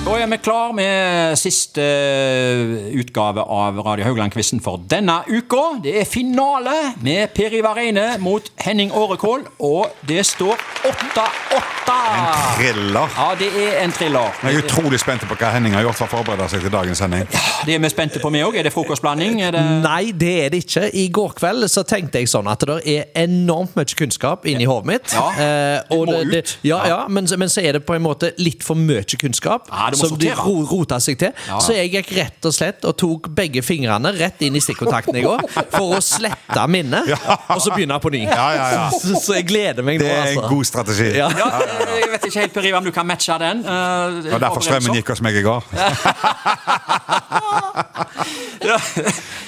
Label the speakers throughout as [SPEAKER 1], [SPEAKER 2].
[SPEAKER 1] Da er vi klar med siste eh, utgave av Radio Haugland-quizen for denne uka. Det er finale med Per Ivar Reine mot Henning Årekål, og det står 8-8.
[SPEAKER 2] Thriller.
[SPEAKER 1] Ja, det er en thriller.
[SPEAKER 2] Jeg er utrolig spent på hva Henning har gjort for å forberede seg til dagens sending.
[SPEAKER 1] Det er vi spente på, vi òg. Er det frokostblanding? Er det
[SPEAKER 3] Nei, det er det ikke. I går kveld så tenkte jeg sånn at det er enormt mye kunnskap inni hodet mitt.
[SPEAKER 1] Ja,
[SPEAKER 3] Eh, og
[SPEAKER 1] det må ut.
[SPEAKER 3] ja, ja, men, så- men så er det på en måte litt for mye kunnskap
[SPEAKER 1] Ja, du må
[SPEAKER 3] som de
[SPEAKER 1] sortere.
[SPEAKER 3] ro, rota seg til.
[SPEAKER 1] Ja.
[SPEAKER 3] Så jeg gikk rett og slett og tok begge fingrene rett inn i stikkontakten i går for å slette minnet, og så begynne på ny.
[SPEAKER 2] Ja, ja, ja.
[SPEAKER 3] Så, så jeg gleder meg nå,
[SPEAKER 2] Det er en
[SPEAKER 3] altså.
[SPEAKER 2] god strategi.
[SPEAKER 3] Ja.
[SPEAKER 1] Ja, jeg vet ikke helt, Per Ivar, om du kan matche den. Eh,
[SPEAKER 2] Det var derfor strømmen gikk hos meg i går.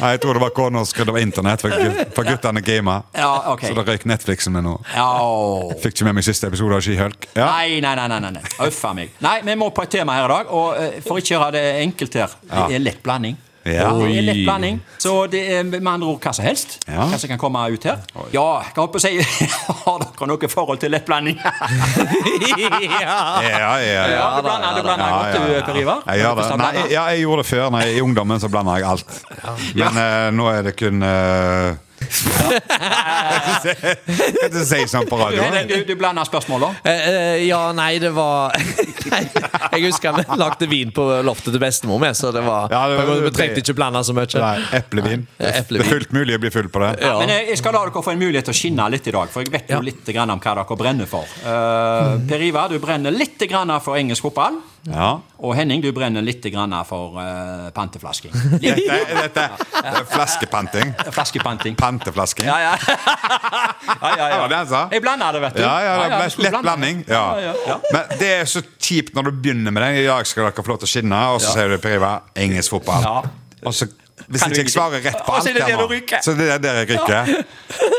[SPEAKER 2] Nei, jeg tror det var kona som skrudde av internett, for, gut- for guttene gama.
[SPEAKER 1] Ja, ok.
[SPEAKER 2] Så da røyk Netflixen min nå.
[SPEAKER 1] Ja, åh.
[SPEAKER 2] Fikk ikke med meg siste episode av Skihølk. Ja.
[SPEAKER 1] Nei, nei, nei. nei, nei, nei. Uff a meg. Nei, vi må på et tema her i dag, og eh, for ikke å gjøre det enkelt her, det er lett blanding.
[SPEAKER 2] Ja.
[SPEAKER 1] Det er lett blanding, Så det er med andre ord hva som helst.
[SPEAKER 2] Ja.
[SPEAKER 1] Hva som kan komme ut her. Ja, jeg holdt på å si Har dere noe forhold til lettblanding?
[SPEAKER 3] ja.
[SPEAKER 2] Ja, ja, ja.
[SPEAKER 1] du blander, du blander
[SPEAKER 2] Ja,
[SPEAKER 1] godt,
[SPEAKER 2] ja,
[SPEAKER 1] du,
[SPEAKER 2] ja.
[SPEAKER 1] Per Ivar.
[SPEAKER 2] Jeg gjør det.
[SPEAKER 1] Hvordan
[SPEAKER 2] Nei,
[SPEAKER 1] blander?
[SPEAKER 2] ja, jeg gjorde det før. Nei, I ungdommen så blanda jeg alt. Men eh, nå er det kun eh, Kan ikke si sånn på
[SPEAKER 1] Henning,
[SPEAKER 2] radioen.
[SPEAKER 1] du, du blander spørsmåla.
[SPEAKER 3] Eh, eh, ja, nei, det var Nei, Jeg husker vi lagde vin på loftet til bestemor med, så det var,
[SPEAKER 2] Ja, det var-
[SPEAKER 3] vi trengte ikke blande så mye.
[SPEAKER 2] Nei, eplevin.
[SPEAKER 3] Nei, eplevin.
[SPEAKER 2] Det er fullt mulig å bli full på det.
[SPEAKER 3] Ja.
[SPEAKER 1] Men eh, jeg skal la dere få en mulighet til å skinne litt i dag, for jeg vet jo
[SPEAKER 3] Ja.
[SPEAKER 1] litt grann om hva dere brenner for. Eh, per Ivar, du brenner litt grann for engelsk fotball.
[SPEAKER 2] Ja.
[SPEAKER 1] Og Henning, du brenner litt grann for eh, panteflasking. Litt
[SPEAKER 2] Dette, dette det er flaskepanting.
[SPEAKER 1] Flaskepanting.
[SPEAKER 2] Panteflasking.
[SPEAKER 1] Ja, ja. ja, ja,
[SPEAKER 2] Det var
[SPEAKER 1] ja.
[SPEAKER 2] det han sa.
[SPEAKER 1] Jeg blander det, vet du.
[SPEAKER 2] Ja, ja, det
[SPEAKER 1] vi
[SPEAKER 2] ble
[SPEAKER 1] skulle blande.
[SPEAKER 2] lett blanding. Ja.
[SPEAKER 1] Ja, ja.
[SPEAKER 2] Men det er så kjipt når du begynner med den. I dag skal dere få lov til å skinne, og så sier du Per Ivar engelsk fotball.
[SPEAKER 1] Ja.
[SPEAKER 2] Og så hvis
[SPEAKER 1] Kan
[SPEAKER 2] ikke
[SPEAKER 1] du
[SPEAKER 2] jeg svarer rett på
[SPEAKER 1] Og så
[SPEAKER 2] alt
[SPEAKER 1] er det
[SPEAKER 2] her
[SPEAKER 1] der
[SPEAKER 2] nå,
[SPEAKER 1] du ryker.
[SPEAKER 2] så det er der jeg ryker.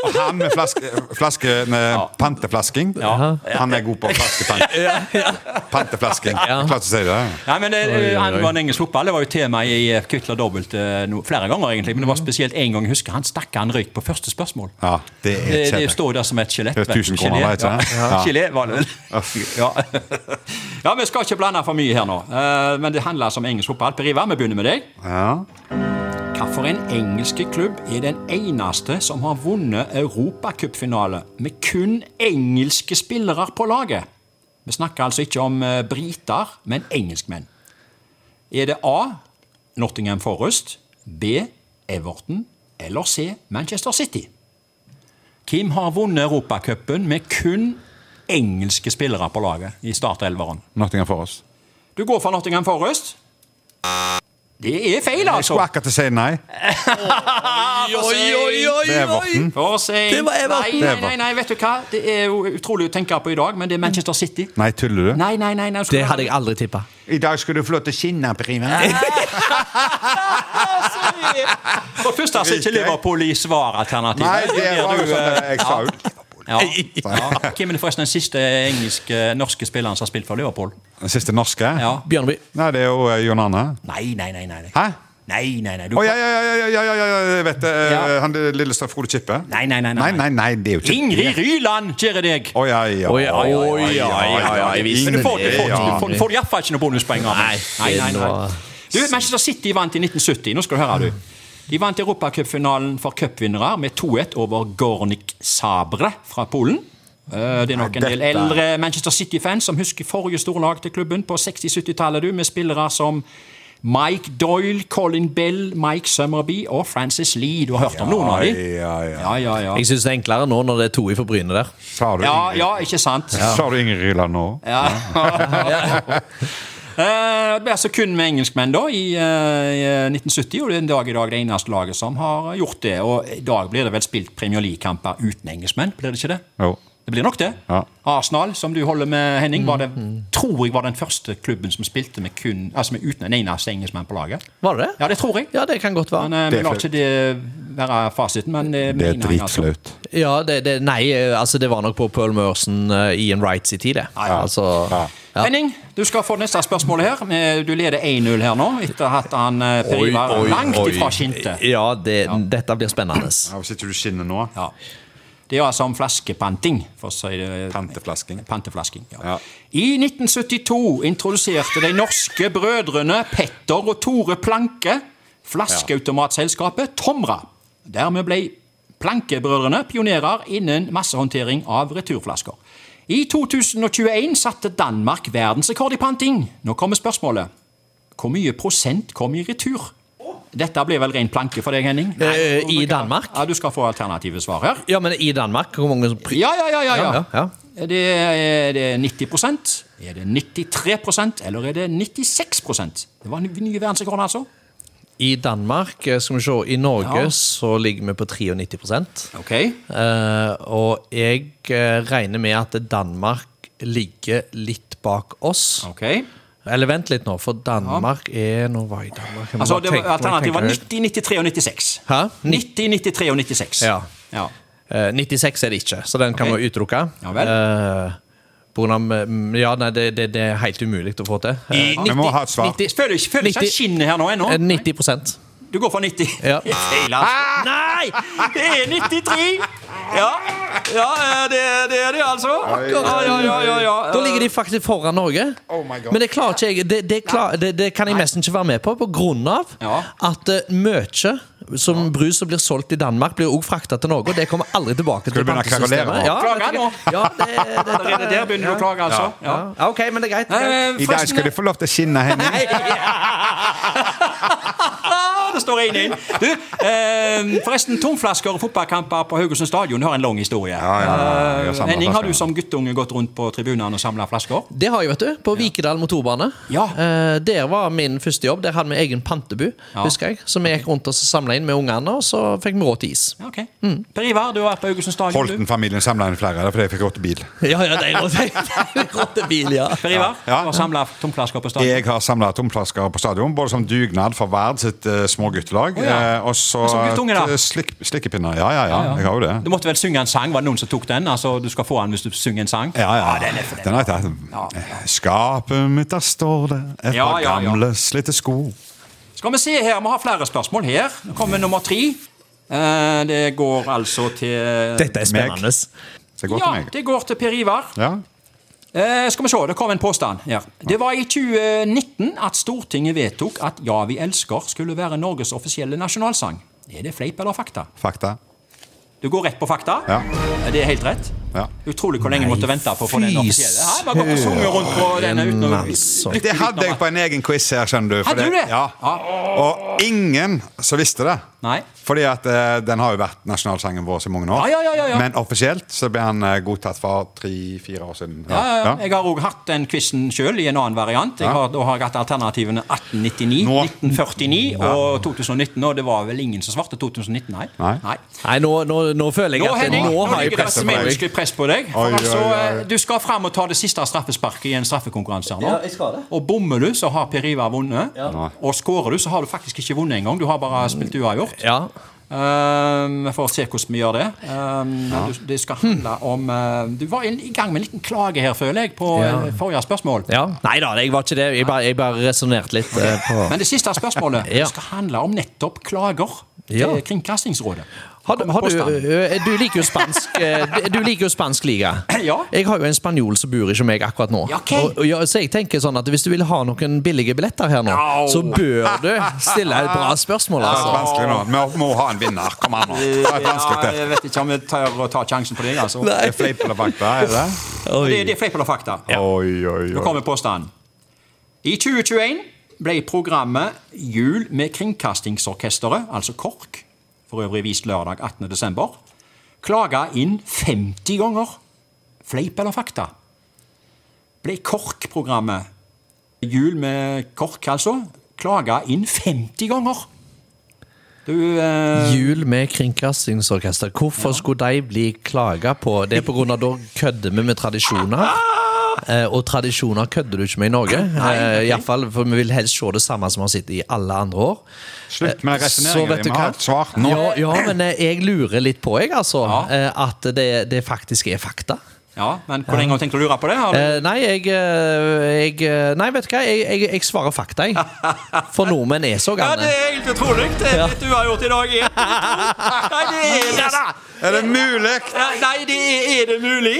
[SPEAKER 2] Og han med flaske, flaske med panteflasking, han er god på flaskepank. Panteflasking. Klart å si det.
[SPEAKER 1] Nei, men det-
[SPEAKER 3] oi, oi.
[SPEAKER 1] Angående engelsk fotball, det var jo tema i eh, Kvitt eller dobbelt eh, no, flere ganger, egentlig. Men det var spesielt én gang jeg husker han stakk han røyk på første spørsmål.
[SPEAKER 2] Ja, det er
[SPEAKER 1] Det, det
[SPEAKER 2] kjedelig.
[SPEAKER 1] står der som et skjelett.
[SPEAKER 2] Det er
[SPEAKER 1] vet du.
[SPEAKER 2] 1000 kroner,
[SPEAKER 1] Gelé,
[SPEAKER 2] vet du,
[SPEAKER 1] ja.
[SPEAKER 2] ja.
[SPEAKER 1] Ja.
[SPEAKER 2] Ja.
[SPEAKER 1] Gelé, var det vel. Ja. ja, vi skal ikke blande for mye her nå. Eh, Men det handler altså om engelsk fotball. Per Ivar, vi begynner med deg.
[SPEAKER 2] Ja.
[SPEAKER 1] Hvilken engelske klubb er den eneste som har vunnet europacupfinale med kun engelske spillere på laget? Vi snakker altså ikke om eh, briter, men engelskmenn. Er det A. Nottingham Forest, B. Everton eller C. Manchester City? Hvem har vunnet europacupen med kun engelske spillere på laget i startelveren?
[SPEAKER 2] Nottingham for oss.
[SPEAKER 1] Du går for Nottingham Forest. Det er feil,
[SPEAKER 2] Jeg skulle
[SPEAKER 1] altså!
[SPEAKER 2] akkurat til å si nei.
[SPEAKER 3] Oi, oi, oi,
[SPEAKER 2] Det
[SPEAKER 3] oi!
[SPEAKER 2] er Vorten.
[SPEAKER 1] For sent.
[SPEAKER 3] Det var Everton.
[SPEAKER 1] Nei, nei, nei, nei, vet du hva? Det er jo utrolig å tenke på i dag, men det er Manchester City.
[SPEAKER 2] Nei, tuller du?
[SPEAKER 1] Nei, nei, nei. nei
[SPEAKER 3] Det hadde jeg aldri tippa.
[SPEAKER 2] I dag skulle du få lov til å skinne, Per Ivar.
[SPEAKER 1] For det første så er ikke Liverpool i svaralternativet.
[SPEAKER 2] Nei, det
[SPEAKER 1] Der
[SPEAKER 2] var
[SPEAKER 1] du,
[SPEAKER 2] jo sånn jeg sa jo.
[SPEAKER 1] ja. Ja. Hvem er det forresten den siste engelske, norske spilleren som har spilt for Liverpool?
[SPEAKER 2] Den siste norske?
[SPEAKER 1] Ja.
[SPEAKER 3] Bjørneby.
[SPEAKER 2] Nei, det er jo eh, John Arne.
[SPEAKER 1] Nei, nei, nei. nei. nei.
[SPEAKER 2] Hæ?
[SPEAKER 1] Nei, nei, nei. Du,
[SPEAKER 2] Å, ja, ja, ja, ja, ja, ja, ja, jeg vet det. Eh,
[SPEAKER 1] Ja.
[SPEAKER 2] Han det lille Staff Frode Kippe?
[SPEAKER 1] Nei, nei, nei, nei.
[SPEAKER 2] Nei, nei, nei, det er jo ikke
[SPEAKER 1] Ingrid Ryland, kjære deg!
[SPEAKER 2] Å, ja, ja.
[SPEAKER 3] Oi, oi, oi, oi, oi, oi,
[SPEAKER 1] Men du får, du får,
[SPEAKER 2] Ja.
[SPEAKER 1] du får, du får iallfall ikke noen bonuspoeng av meg.
[SPEAKER 3] Nei,
[SPEAKER 1] Nei, nei,
[SPEAKER 3] det var-
[SPEAKER 1] nei. Du, Manchester City vant i 1970. Nå skal du høre, du. De vant europacupfinalen for cupvinnere med 2-1 over Gornik Sabre fra Polen. Eh, Det er nok en del
[SPEAKER 2] Dette-
[SPEAKER 1] eldre Manchester City-fans som husker forrige storlag til klubben på 60-70-tallet, du, med spillere som Mike Doyle, Colin Bell, Mike Summerby og Francis Lee. Du har hørt om noen av dem?
[SPEAKER 2] Ja, ja.
[SPEAKER 1] Ja, ja, ja.
[SPEAKER 3] Jeg syns det er enklere nå når det er to i forbrynet der.
[SPEAKER 2] Sa du
[SPEAKER 1] Ja,
[SPEAKER 2] Ingrid?
[SPEAKER 1] ja, ikke sant?
[SPEAKER 2] Sa du Ingrid Ryland nå?
[SPEAKER 1] Eh, Det ble altså kun med engelskmenn da i eh, i 1970, og det er en dag i dag det eneste laget som har gjort det. Og i dag blir det vel spilt Premier League-kamper uten engelskmenn, blir det ikke det?
[SPEAKER 2] Jo.
[SPEAKER 1] Det blir nok det.
[SPEAKER 2] Ja. Mhm.
[SPEAKER 1] Arsenal, som du holder med, Henning, var det, tror jeg var den første klubben som spilte med kun, altså med uten en eneste engelskmann på laget.
[SPEAKER 3] Var det det?
[SPEAKER 1] Ja, det tror jeg.
[SPEAKER 3] Ja, det kan godt
[SPEAKER 1] Men
[SPEAKER 3] være.
[SPEAKER 1] eh, Vi
[SPEAKER 2] Det er
[SPEAKER 1] lar
[SPEAKER 2] flaut.
[SPEAKER 1] ikke det være fasiten, men eh,
[SPEAKER 2] Det er
[SPEAKER 1] mener jeg altså.
[SPEAKER 2] dritflaut.
[SPEAKER 3] Ja, det, det, nei, eh, altså det var nok på Pearl Merson, eh, Ian Wrights i tid, det.
[SPEAKER 2] ja.
[SPEAKER 3] Altså,
[SPEAKER 2] Ja.
[SPEAKER 1] Henning, du skal få neste spørsmål her. Eh, Du leder 1-0 her nå, etter at han eh, Per
[SPEAKER 3] Oi,
[SPEAKER 1] Ivar
[SPEAKER 3] oi,
[SPEAKER 1] langt
[SPEAKER 3] oi.
[SPEAKER 1] ifra skinte.
[SPEAKER 3] Ja, det, dette blir spennende.
[SPEAKER 2] Ja, Hvis ikke du skinner nå
[SPEAKER 1] Ja. Det er altså om flaskepanting. for å si det-
[SPEAKER 2] Panteflasking.
[SPEAKER 1] Panteflasking, ja.
[SPEAKER 2] Ja.
[SPEAKER 1] I 1972 introduserte de norske brødrene Petter og Tore Planke flaskeautomatselskapet Tomra. Dermed ble Planke-brødrene pionerer innen massehåndtering av returflasker. I 2021 satte Danmark verdensrekord i panting. Nå kommer spørsmålet. Hvor mye prosent kom i retur? Dette blir vel ren planke for deg, Henning?
[SPEAKER 3] Eh, I Danmark?
[SPEAKER 1] Ja, Du skal få alternative svar her.
[SPEAKER 3] Ja, men i Danmark? Hvor mange som pri...
[SPEAKER 1] Ja, ja, ja. ja, ja.
[SPEAKER 3] Ja, ja,
[SPEAKER 1] Det er, er det 90 Er det 93 eller er det 96 Det var en ny verdensrekord, altså.
[SPEAKER 3] I Danmark, eh, skal vi se I Norge
[SPEAKER 1] Ja.
[SPEAKER 3] så ligger vi på 93
[SPEAKER 1] Ok.
[SPEAKER 3] Eh, og jeg eh, regner med at Danmark ligger litt bak oss.
[SPEAKER 1] ok.
[SPEAKER 3] Eller vent litt nå, for Danmark er Nå var jeg i Danmark. Jeg må
[SPEAKER 1] Altså,
[SPEAKER 3] bare
[SPEAKER 1] det var,
[SPEAKER 3] tenke- må jeg
[SPEAKER 1] Alternativet var
[SPEAKER 3] tenke
[SPEAKER 1] 90,
[SPEAKER 3] høyt.
[SPEAKER 1] 93 og 96.
[SPEAKER 3] Hæ?
[SPEAKER 1] 90, 93 og 96.
[SPEAKER 3] Ja.
[SPEAKER 1] ja.
[SPEAKER 3] Eh, 96 er det ikke, så den kan
[SPEAKER 1] Ok.
[SPEAKER 3] vi utelukke.
[SPEAKER 1] Ja vel.
[SPEAKER 3] Eh, på grunn av, mm, ja, nei, det, det, det er helt umulig å få til. Eh,
[SPEAKER 2] Vi må ha et svar.
[SPEAKER 3] 90,
[SPEAKER 1] Føler ikke føler ikke
[SPEAKER 3] 90
[SPEAKER 1] at skinnet her nå ennå.
[SPEAKER 3] eh, 90
[SPEAKER 1] Du går for 90.
[SPEAKER 3] Ja.
[SPEAKER 1] Det er feil, altså. Nei! Det er 93! Ja, ja eh, det, det er det, altså. Ja, ja, ja, ja, ja. Oh
[SPEAKER 3] Da ligger de faktisk foran Norge.
[SPEAKER 2] my God.
[SPEAKER 3] Men det klarer ikke jeg. Det, det, klar, det, det kan jeg nesten ikke være med på, på grunn av
[SPEAKER 1] Ja.
[SPEAKER 3] at eh, mye som brus som blir solgt i Danmark, blir også frakta til Norge. Og det kommer aldri tilbake
[SPEAKER 2] Skal du
[SPEAKER 3] til
[SPEAKER 2] begynne å kverulere nå?
[SPEAKER 3] Ja,
[SPEAKER 1] Klager
[SPEAKER 3] vet du- Ja, det, det,
[SPEAKER 1] Allerede der begynner du å klage, altså. Ja.
[SPEAKER 3] ja, OK, men det er greit. Det er greit.
[SPEAKER 1] Eh,
[SPEAKER 2] I dag
[SPEAKER 1] forresten-
[SPEAKER 2] skal du få lov til å skinne, Henning.
[SPEAKER 1] Det står én inn. Du, eh, forresten, tomflasker og fotballkamper på Haugesund stadion har en lang historie.
[SPEAKER 2] Ja, ja, ja, jeg har samlet
[SPEAKER 1] Henning, har
[SPEAKER 2] flasker.
[SPEAKER 1] du som guttunge gått rundt på tribunene og samla flasker?
[SPEAKER 3] Det har jeg, vet du. På Vikedal motorbane.
[SPEAKER 1] Ja.
[SPEAKER 3] Eh, der var min første jobb. Der hadde vi egen pantebu,
[SPEAKER 1] Ja.
[SPEAKER 3] husker jeg. Som vi gikk rundt og samla inn med ungene, og så fikk vi råd til is.
[SPEAKER 1] Ja, Ok. Per Ivar, du har vært på Haugesund stadion. du?
[SPEAKER 2] Holten-familien samla inn flere, det er fordi jeg fikk råd til bil.
[SPEAKER 3] Ja, ja, det er råd til- råd til bil, ja.
[SPEAKER 1] Per Ivar,
[SPEAKER 2] Ja.
[SPEAKER 1] du har samla tomflasker på stadion.
[SPEAKER 2] Jeg har samla tomflasker på stadion, både som dugnad for Verd sitt uh, småguttelag
[SPEAKER 1] Å, ja.
[SPEAKER 2] eh, og så
[SPEAKER 1] Men som guttunge, da?
[SPEAKER 2] til slik, slikkepinner. Ja, ja, ja, jeg har jo det.
[SPEAKER 1] Du måtte vel synge en sang? Var det noen som tok den? Altså, Du skal få den hvis du synger en sang?
[SPEAKER 2] Ja, ja. Den har jeg tatt. Skapet mitt, der står det et
[SPEAKER 1] Ja,
[SPEAKER 2] par
[SPEAKER 1] ja, ja.
[SPEAKER 2] gamle, slitte sko.
[SPEAKER 1] Skal vi se her, vi har flere spørsmål her. Nå kommer nummer tre. Eh, det går altså til
[SPEAKER 3] Dette er
[SPEAKER 2] Meg.
[SPEAKER 3] spennende.
[SPEAKER 2] Det går til
[SPEAKER 1] Ja,
[SPEAKER 2] meg.
[SPEAKER 1] det går til Per Ivar.
[SPEAKER 2] Ja.
[SPEAKER 1] Eh, skal vi se, det kom en påstand her. Det var i 2019 at Stortinget vedtok at Ja, vi elsker skulle være Norges offisielle nasjonalsang. Er det fleip eller fakta?
[SPEAKER 2] Fakta.
[SPEAKER 1] Du går rett på fakta.
[SPEAKER 2] Ja.
[SPEAKER 1] Det er helt rett.
[SPEAKER 2] Ja.
[SPEAKER 1] Utrolig hvor lenge jeg måtte vente på å få den
[SPEAKER 3] fy
[SPEAKER 1] offisielle. Ja, jeg har gått og sunget rundt på denne uten å-
[SPEAKER 3] altså.
[SPEAKER 1] lykke-
[SPEAKER 2] Det hadde jeg på en egen quiz her, skjønner du. for
[SPEAKER 1] Hadde du det?
[SPEAKER 2] Ja.
[SPEAKER 1] Ja.
[SPEAKER 2] Og ingen som visste det.
[SPEAKER 1] Nei.
[SPEAKER 2] Fordi at eh, den har jo vært nasjonalsangen vår i mange år.
[SPEAKER 1] Ja, ja, ja, ja, ja.
[SPEAKER 2] Men offisielt så ble han eh, godtatt for tre-fire år siden.
[SPEAKER 1] Ja, ja, ja.
[SPEAKER 2] Ja.
[SPEAKER 1] Jeg har òg hatt den quizen sjøl i en annen variant. Jeg har, da har jeg hatt alternativene 1899,
[SPEAKER 2] Nå.
[SPEAKER 1] 1949 og 2019. Og det var vel ingen som svarte 2019, nei.
[SPEAKER 2] Nei.
[SPEAKER 3] Nei, nå, nå, nå føler jeg
[SPEAKER 1] Nå,
[SPEAKER 3] at
[SPEAKER 1] Henning,
[SPEAKER 3] nå
[SPEAKER 1] nå
[SPEAKER 3] har jeg
[SPEAKER 1] ligger det
[SPEAKER 3] pressa på
[SPEAKER 1] et
[SPEAKER 3] meg.
[SPEAKER 1] menneskelig press på deg.
[SPEAKER 2] Oi,
[SPEAKER 1] For
[SPEAKER 2] oi,
[SPEAKER 1] altså,
[SPEAKER 2] oi.
[SPEAKER 1] eh, Du skal fram og ta det siste straffesparket i en straffekonkurranse. her nå.
[SPEAKER 3] Ja, jeg skal det.
[SPEAKER 1] Og bommer du, så har Per Ivar vunnet. Og skårer du, så har du faktisk ikke vunnet engang. Du har bare spilt uavgjort.
[SPEAKER 3] Ja.
[SPEAKER 1] Um, vi får se hvordan vi gjør det. Um, du, det skal handle om eh, Du var i, i gang med en liten klage her, føler jeg, på
[SPEAKER 3] Ja.
[SPEAKER 1] eh, forrige spørsmål.
[SPEAKER 3] ja. Nei da, jeg var ikke det. Jeg bare, jeg bare resonnerte litt. eh, på
[SPEAKER 1] Men det siste spørsmålet
[SPEAKER 3] Ja.
[SPEAKER 1] det skal handle om nettopp klager til
[SPEAKER 3] Ja.
[SPEAKER 1] Kringkastingsrådet.
[SPEAKER 3] har du, har du,
[SPEAKER 1] Påstand.
[SPEAKER 3] ø, du liker jo spansk eh, du- Du liker jo spansk liga.
[SPEAKER 1] Ja.
[SPEAKER 3] Jeg har jo en spanjol som bor ikke meg akkurat nå.
[SPEAKER 1] Ja, ok.
[SPEAKER 3] Og, og, ja, så jeg tenker sånn at Hvis du vil ha noen billige billetter her nå,
[SPEAKER 1] Au.
[SPEAKER 3] så bør du stille et bra spørsmål.
[SPEAKER 2] Det er
[SPEAKER 3] Altså.
[SPEAKER 2] vanskelig nå. Vi må ha en vinner. Kom an, nå. Det er vanskelig
[SPEAKER 1] Ja,
[SPEAKER 2] til.
[SPEAKER 1] jeg vet ikke om vi tør å ta sjansen på deg, altså.
[SPEAKER 2] Det er fleip eller fakta, er det?
[SPEAKER 1] Det, det er fleip eller fakta.
[SPEAKER 2] Oi, oi,
[SPEAKER 1] Nå
[SPEAKER 2] oi.
[SPEAKER 1] kommer påstanden. I 2021 ble programmet Jul med Kringkastingsorkesteret, altså KORK, for øvrig vist lørdag 18. desember, klaga inn 50 ganger. Fleip eller fakta? Ble KORK-programmet, Jul med KORK altså, klaga inn 50 ganger? Du eh,
[SPEAKER 3] Jul med Kringkastingsorkester. Hvorfor skulle de bli klaga på? Det er pga. da kødder vi med tradisjoner. Eh, Og tradisjoner kødder du ikke med i Norge. Eh, i hvert fall, for Vi vil helst se det samme som vi har sett i alle andre år.
[SPEAKER 2] Slutt med
[SPEAKER 3] Så
[SPEAKER 2] resonneringen.
[SPEAKER 3] vet du
[SPEAKER 2] Vi må ha
[SPEAKER 3] hva?
[SPEAKER 2] et svar nå.
[SPEAKER 3] Ja, ja, men eh, jeg lurer litt på, jeg, altså.
[SPEAKER 1] Ja.
[SPEAKER 3] eh, At det, det faktisk er fakta.
[SPEAKER 1] Ja, men Hvor lenge har du tenkt å lure på det? Har du...
[SPEAKER 3] Eh, nei, jeg, eh, jeg eh, Nei, vet du hva? Jeg, jeg, jeg svarer fakta, jeg. For nordmenn er så
[SPEAKER 1] Ja,
[SPEAKER 3] gærne.
[SPEAKER 1] det er helt utrolig. Det er litt uavgjort i dag. er- Nei, det er det, da!
[SPEAKER 2] Er det mulig?
[SPEAKER 1] Nei, det er, er det mulig?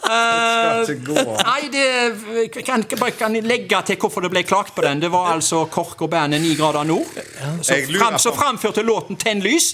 [SPEAKER 2] Skal ikke gå an.
[SPEAKER 1] Nei, det jeg kan, bare kan jeg legge til hvorfor det ble klagt på den. Det var altså KORK og bandet 9 grader nord som,
[SPEAKER 2] Jeg lurer
[SPEAKER 1] fram,
[SPEAKER 2] på-
[SPEAKER 1] som framførte låten 'Tenn lys'.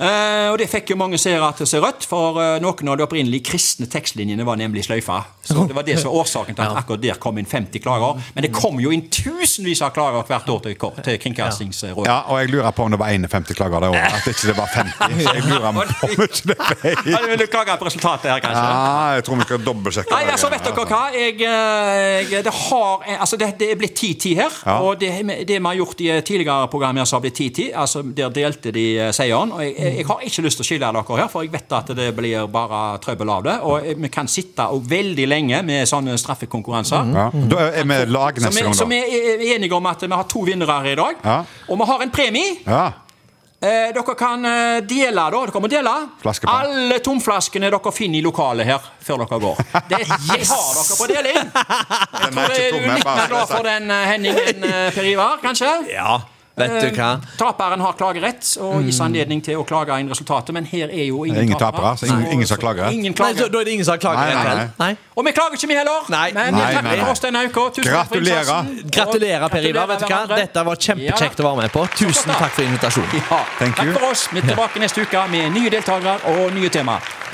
[SPEAKER 1] Eh, og det fikk jo mange seere til å se rødt, for eh, noen av de opprinnelige kristne tekstlinjene var nemlig sløyfa. Så det var det som var årsaken til at akkurat der kom inn 50 klager. Men det kom jo inn tusenvis av klager hvert år til, KORK- til Kringkastingsrådet.
[SPEAKER 2] Ja, og jeg lurer på om det var 51 klager det året. At ikke det var 50. Så jeg lurer på om ikke det ble
[SPEAKER 1] Ja, du vil klage på resultatet her, kanskje?
[SPEAKER 2] Ja, jeg tror vi skal dobbeltsjekke.
[SPEAKER 1] Nei, altså, vet dere hva? Jeg, eh, jeg, det, har, eh, altså, det, det er blitt 10-10 her.
[SPEAKER 2] Ja.
[SPEAKER 1] Og det, det vi har gjort i eh, tidligere program her, som har blitt 10-10, altså, der delte de eh, seieren. Og jeg, jeg, jeg har ikke lyst til å skille dere her, for jeg vet at det blir bare trøbbel av det. Og eh, vi kan sitte og veldig lenge med sånne straffekonkurranser.
[SPEAKER 2] Mm. Ja. Da er vi lag
[SPEAKER 1] Så vi,
[SPEAKER 2] neste gang,
[SPEAKER 1] så vi
[SPEAKER 2] da.
[SPEAKER 1] er enige om at vi har to vinnere her i dag.
[SPEAKER 2] Ja.
[SPEAKER 1] Og vi har en premie.
[SPEAKER 2] Ja.
[SPEAKER 1] Eh, dere kan eh, dele, da. Dere må dele
[SPEAKER 2] Flaskepann.
[SPEAKER 1] alle tomflaskene dere finner i lokalet her, før dere går. Det yes! har dere på deling! Jeg
[SPEAKER 2] er
[SPEAKER 1] tror det er
[SPEAKER 2] ikke tom,
[SPEAKER 1] du
[SPEAKER 2] jeg
[SPEAKER 1] litt
[SPEAKER 2] bare
[SPEAKER 1] mer glad
[SPEAKER 2] leser.
[SPEAKER 1] for den eh, Henningen eh, Per Ivar, kanskje? Eh,
[SPEAKER 3] Ja, vet du hva? Mm.
[SPEAKER 1] Taperen har klagerett og gis anledning til å klage inn resultatet, men her er jo ingen,
[SPEAKER 2] Det er ingen tapere, så ingen- ingen som klager.
[SPEAKER 1] Ingen
[SPEAKER 3] Nei, da,
[SPEAKER 1] klager.
[SPEAKER 3] da er det ingen som har klaget.
[SPEAKER 2] Nei, nei,
[SPEAKER 3] vel? nei.
[SPEAKER 1] Og vi klager ikke, vi heller.
[SPEAKER 3] Nei.
[SPEAKER 1] Men
[SPEAKER 2] Nei,
[SPEAKER 1] takk
[SPEAKER 2] nei, nei.
[SPEAKER 1] for oss denne uka. Tusen takk for
[SPEAKER 2] Gratulerer.
[SPEAKER 1] innsatsen. Og
[SPEAKER 3] Gratulerer, Per Ivar. vet du hva?
[SPEAKER 1] hverandre.
[SPEAKER 3] Dette var kjempekjekt å være med på. Tusen takk for invitasjonen.
[SPEAKER 1] Ja,
[SPEAKER 2] Thank
[SPEAKER 1] takk
[SPEAKER 2] you.
[SPEAKER 1] for oss. Vi er tilbake neste uke med nye deltakere og nye temaer.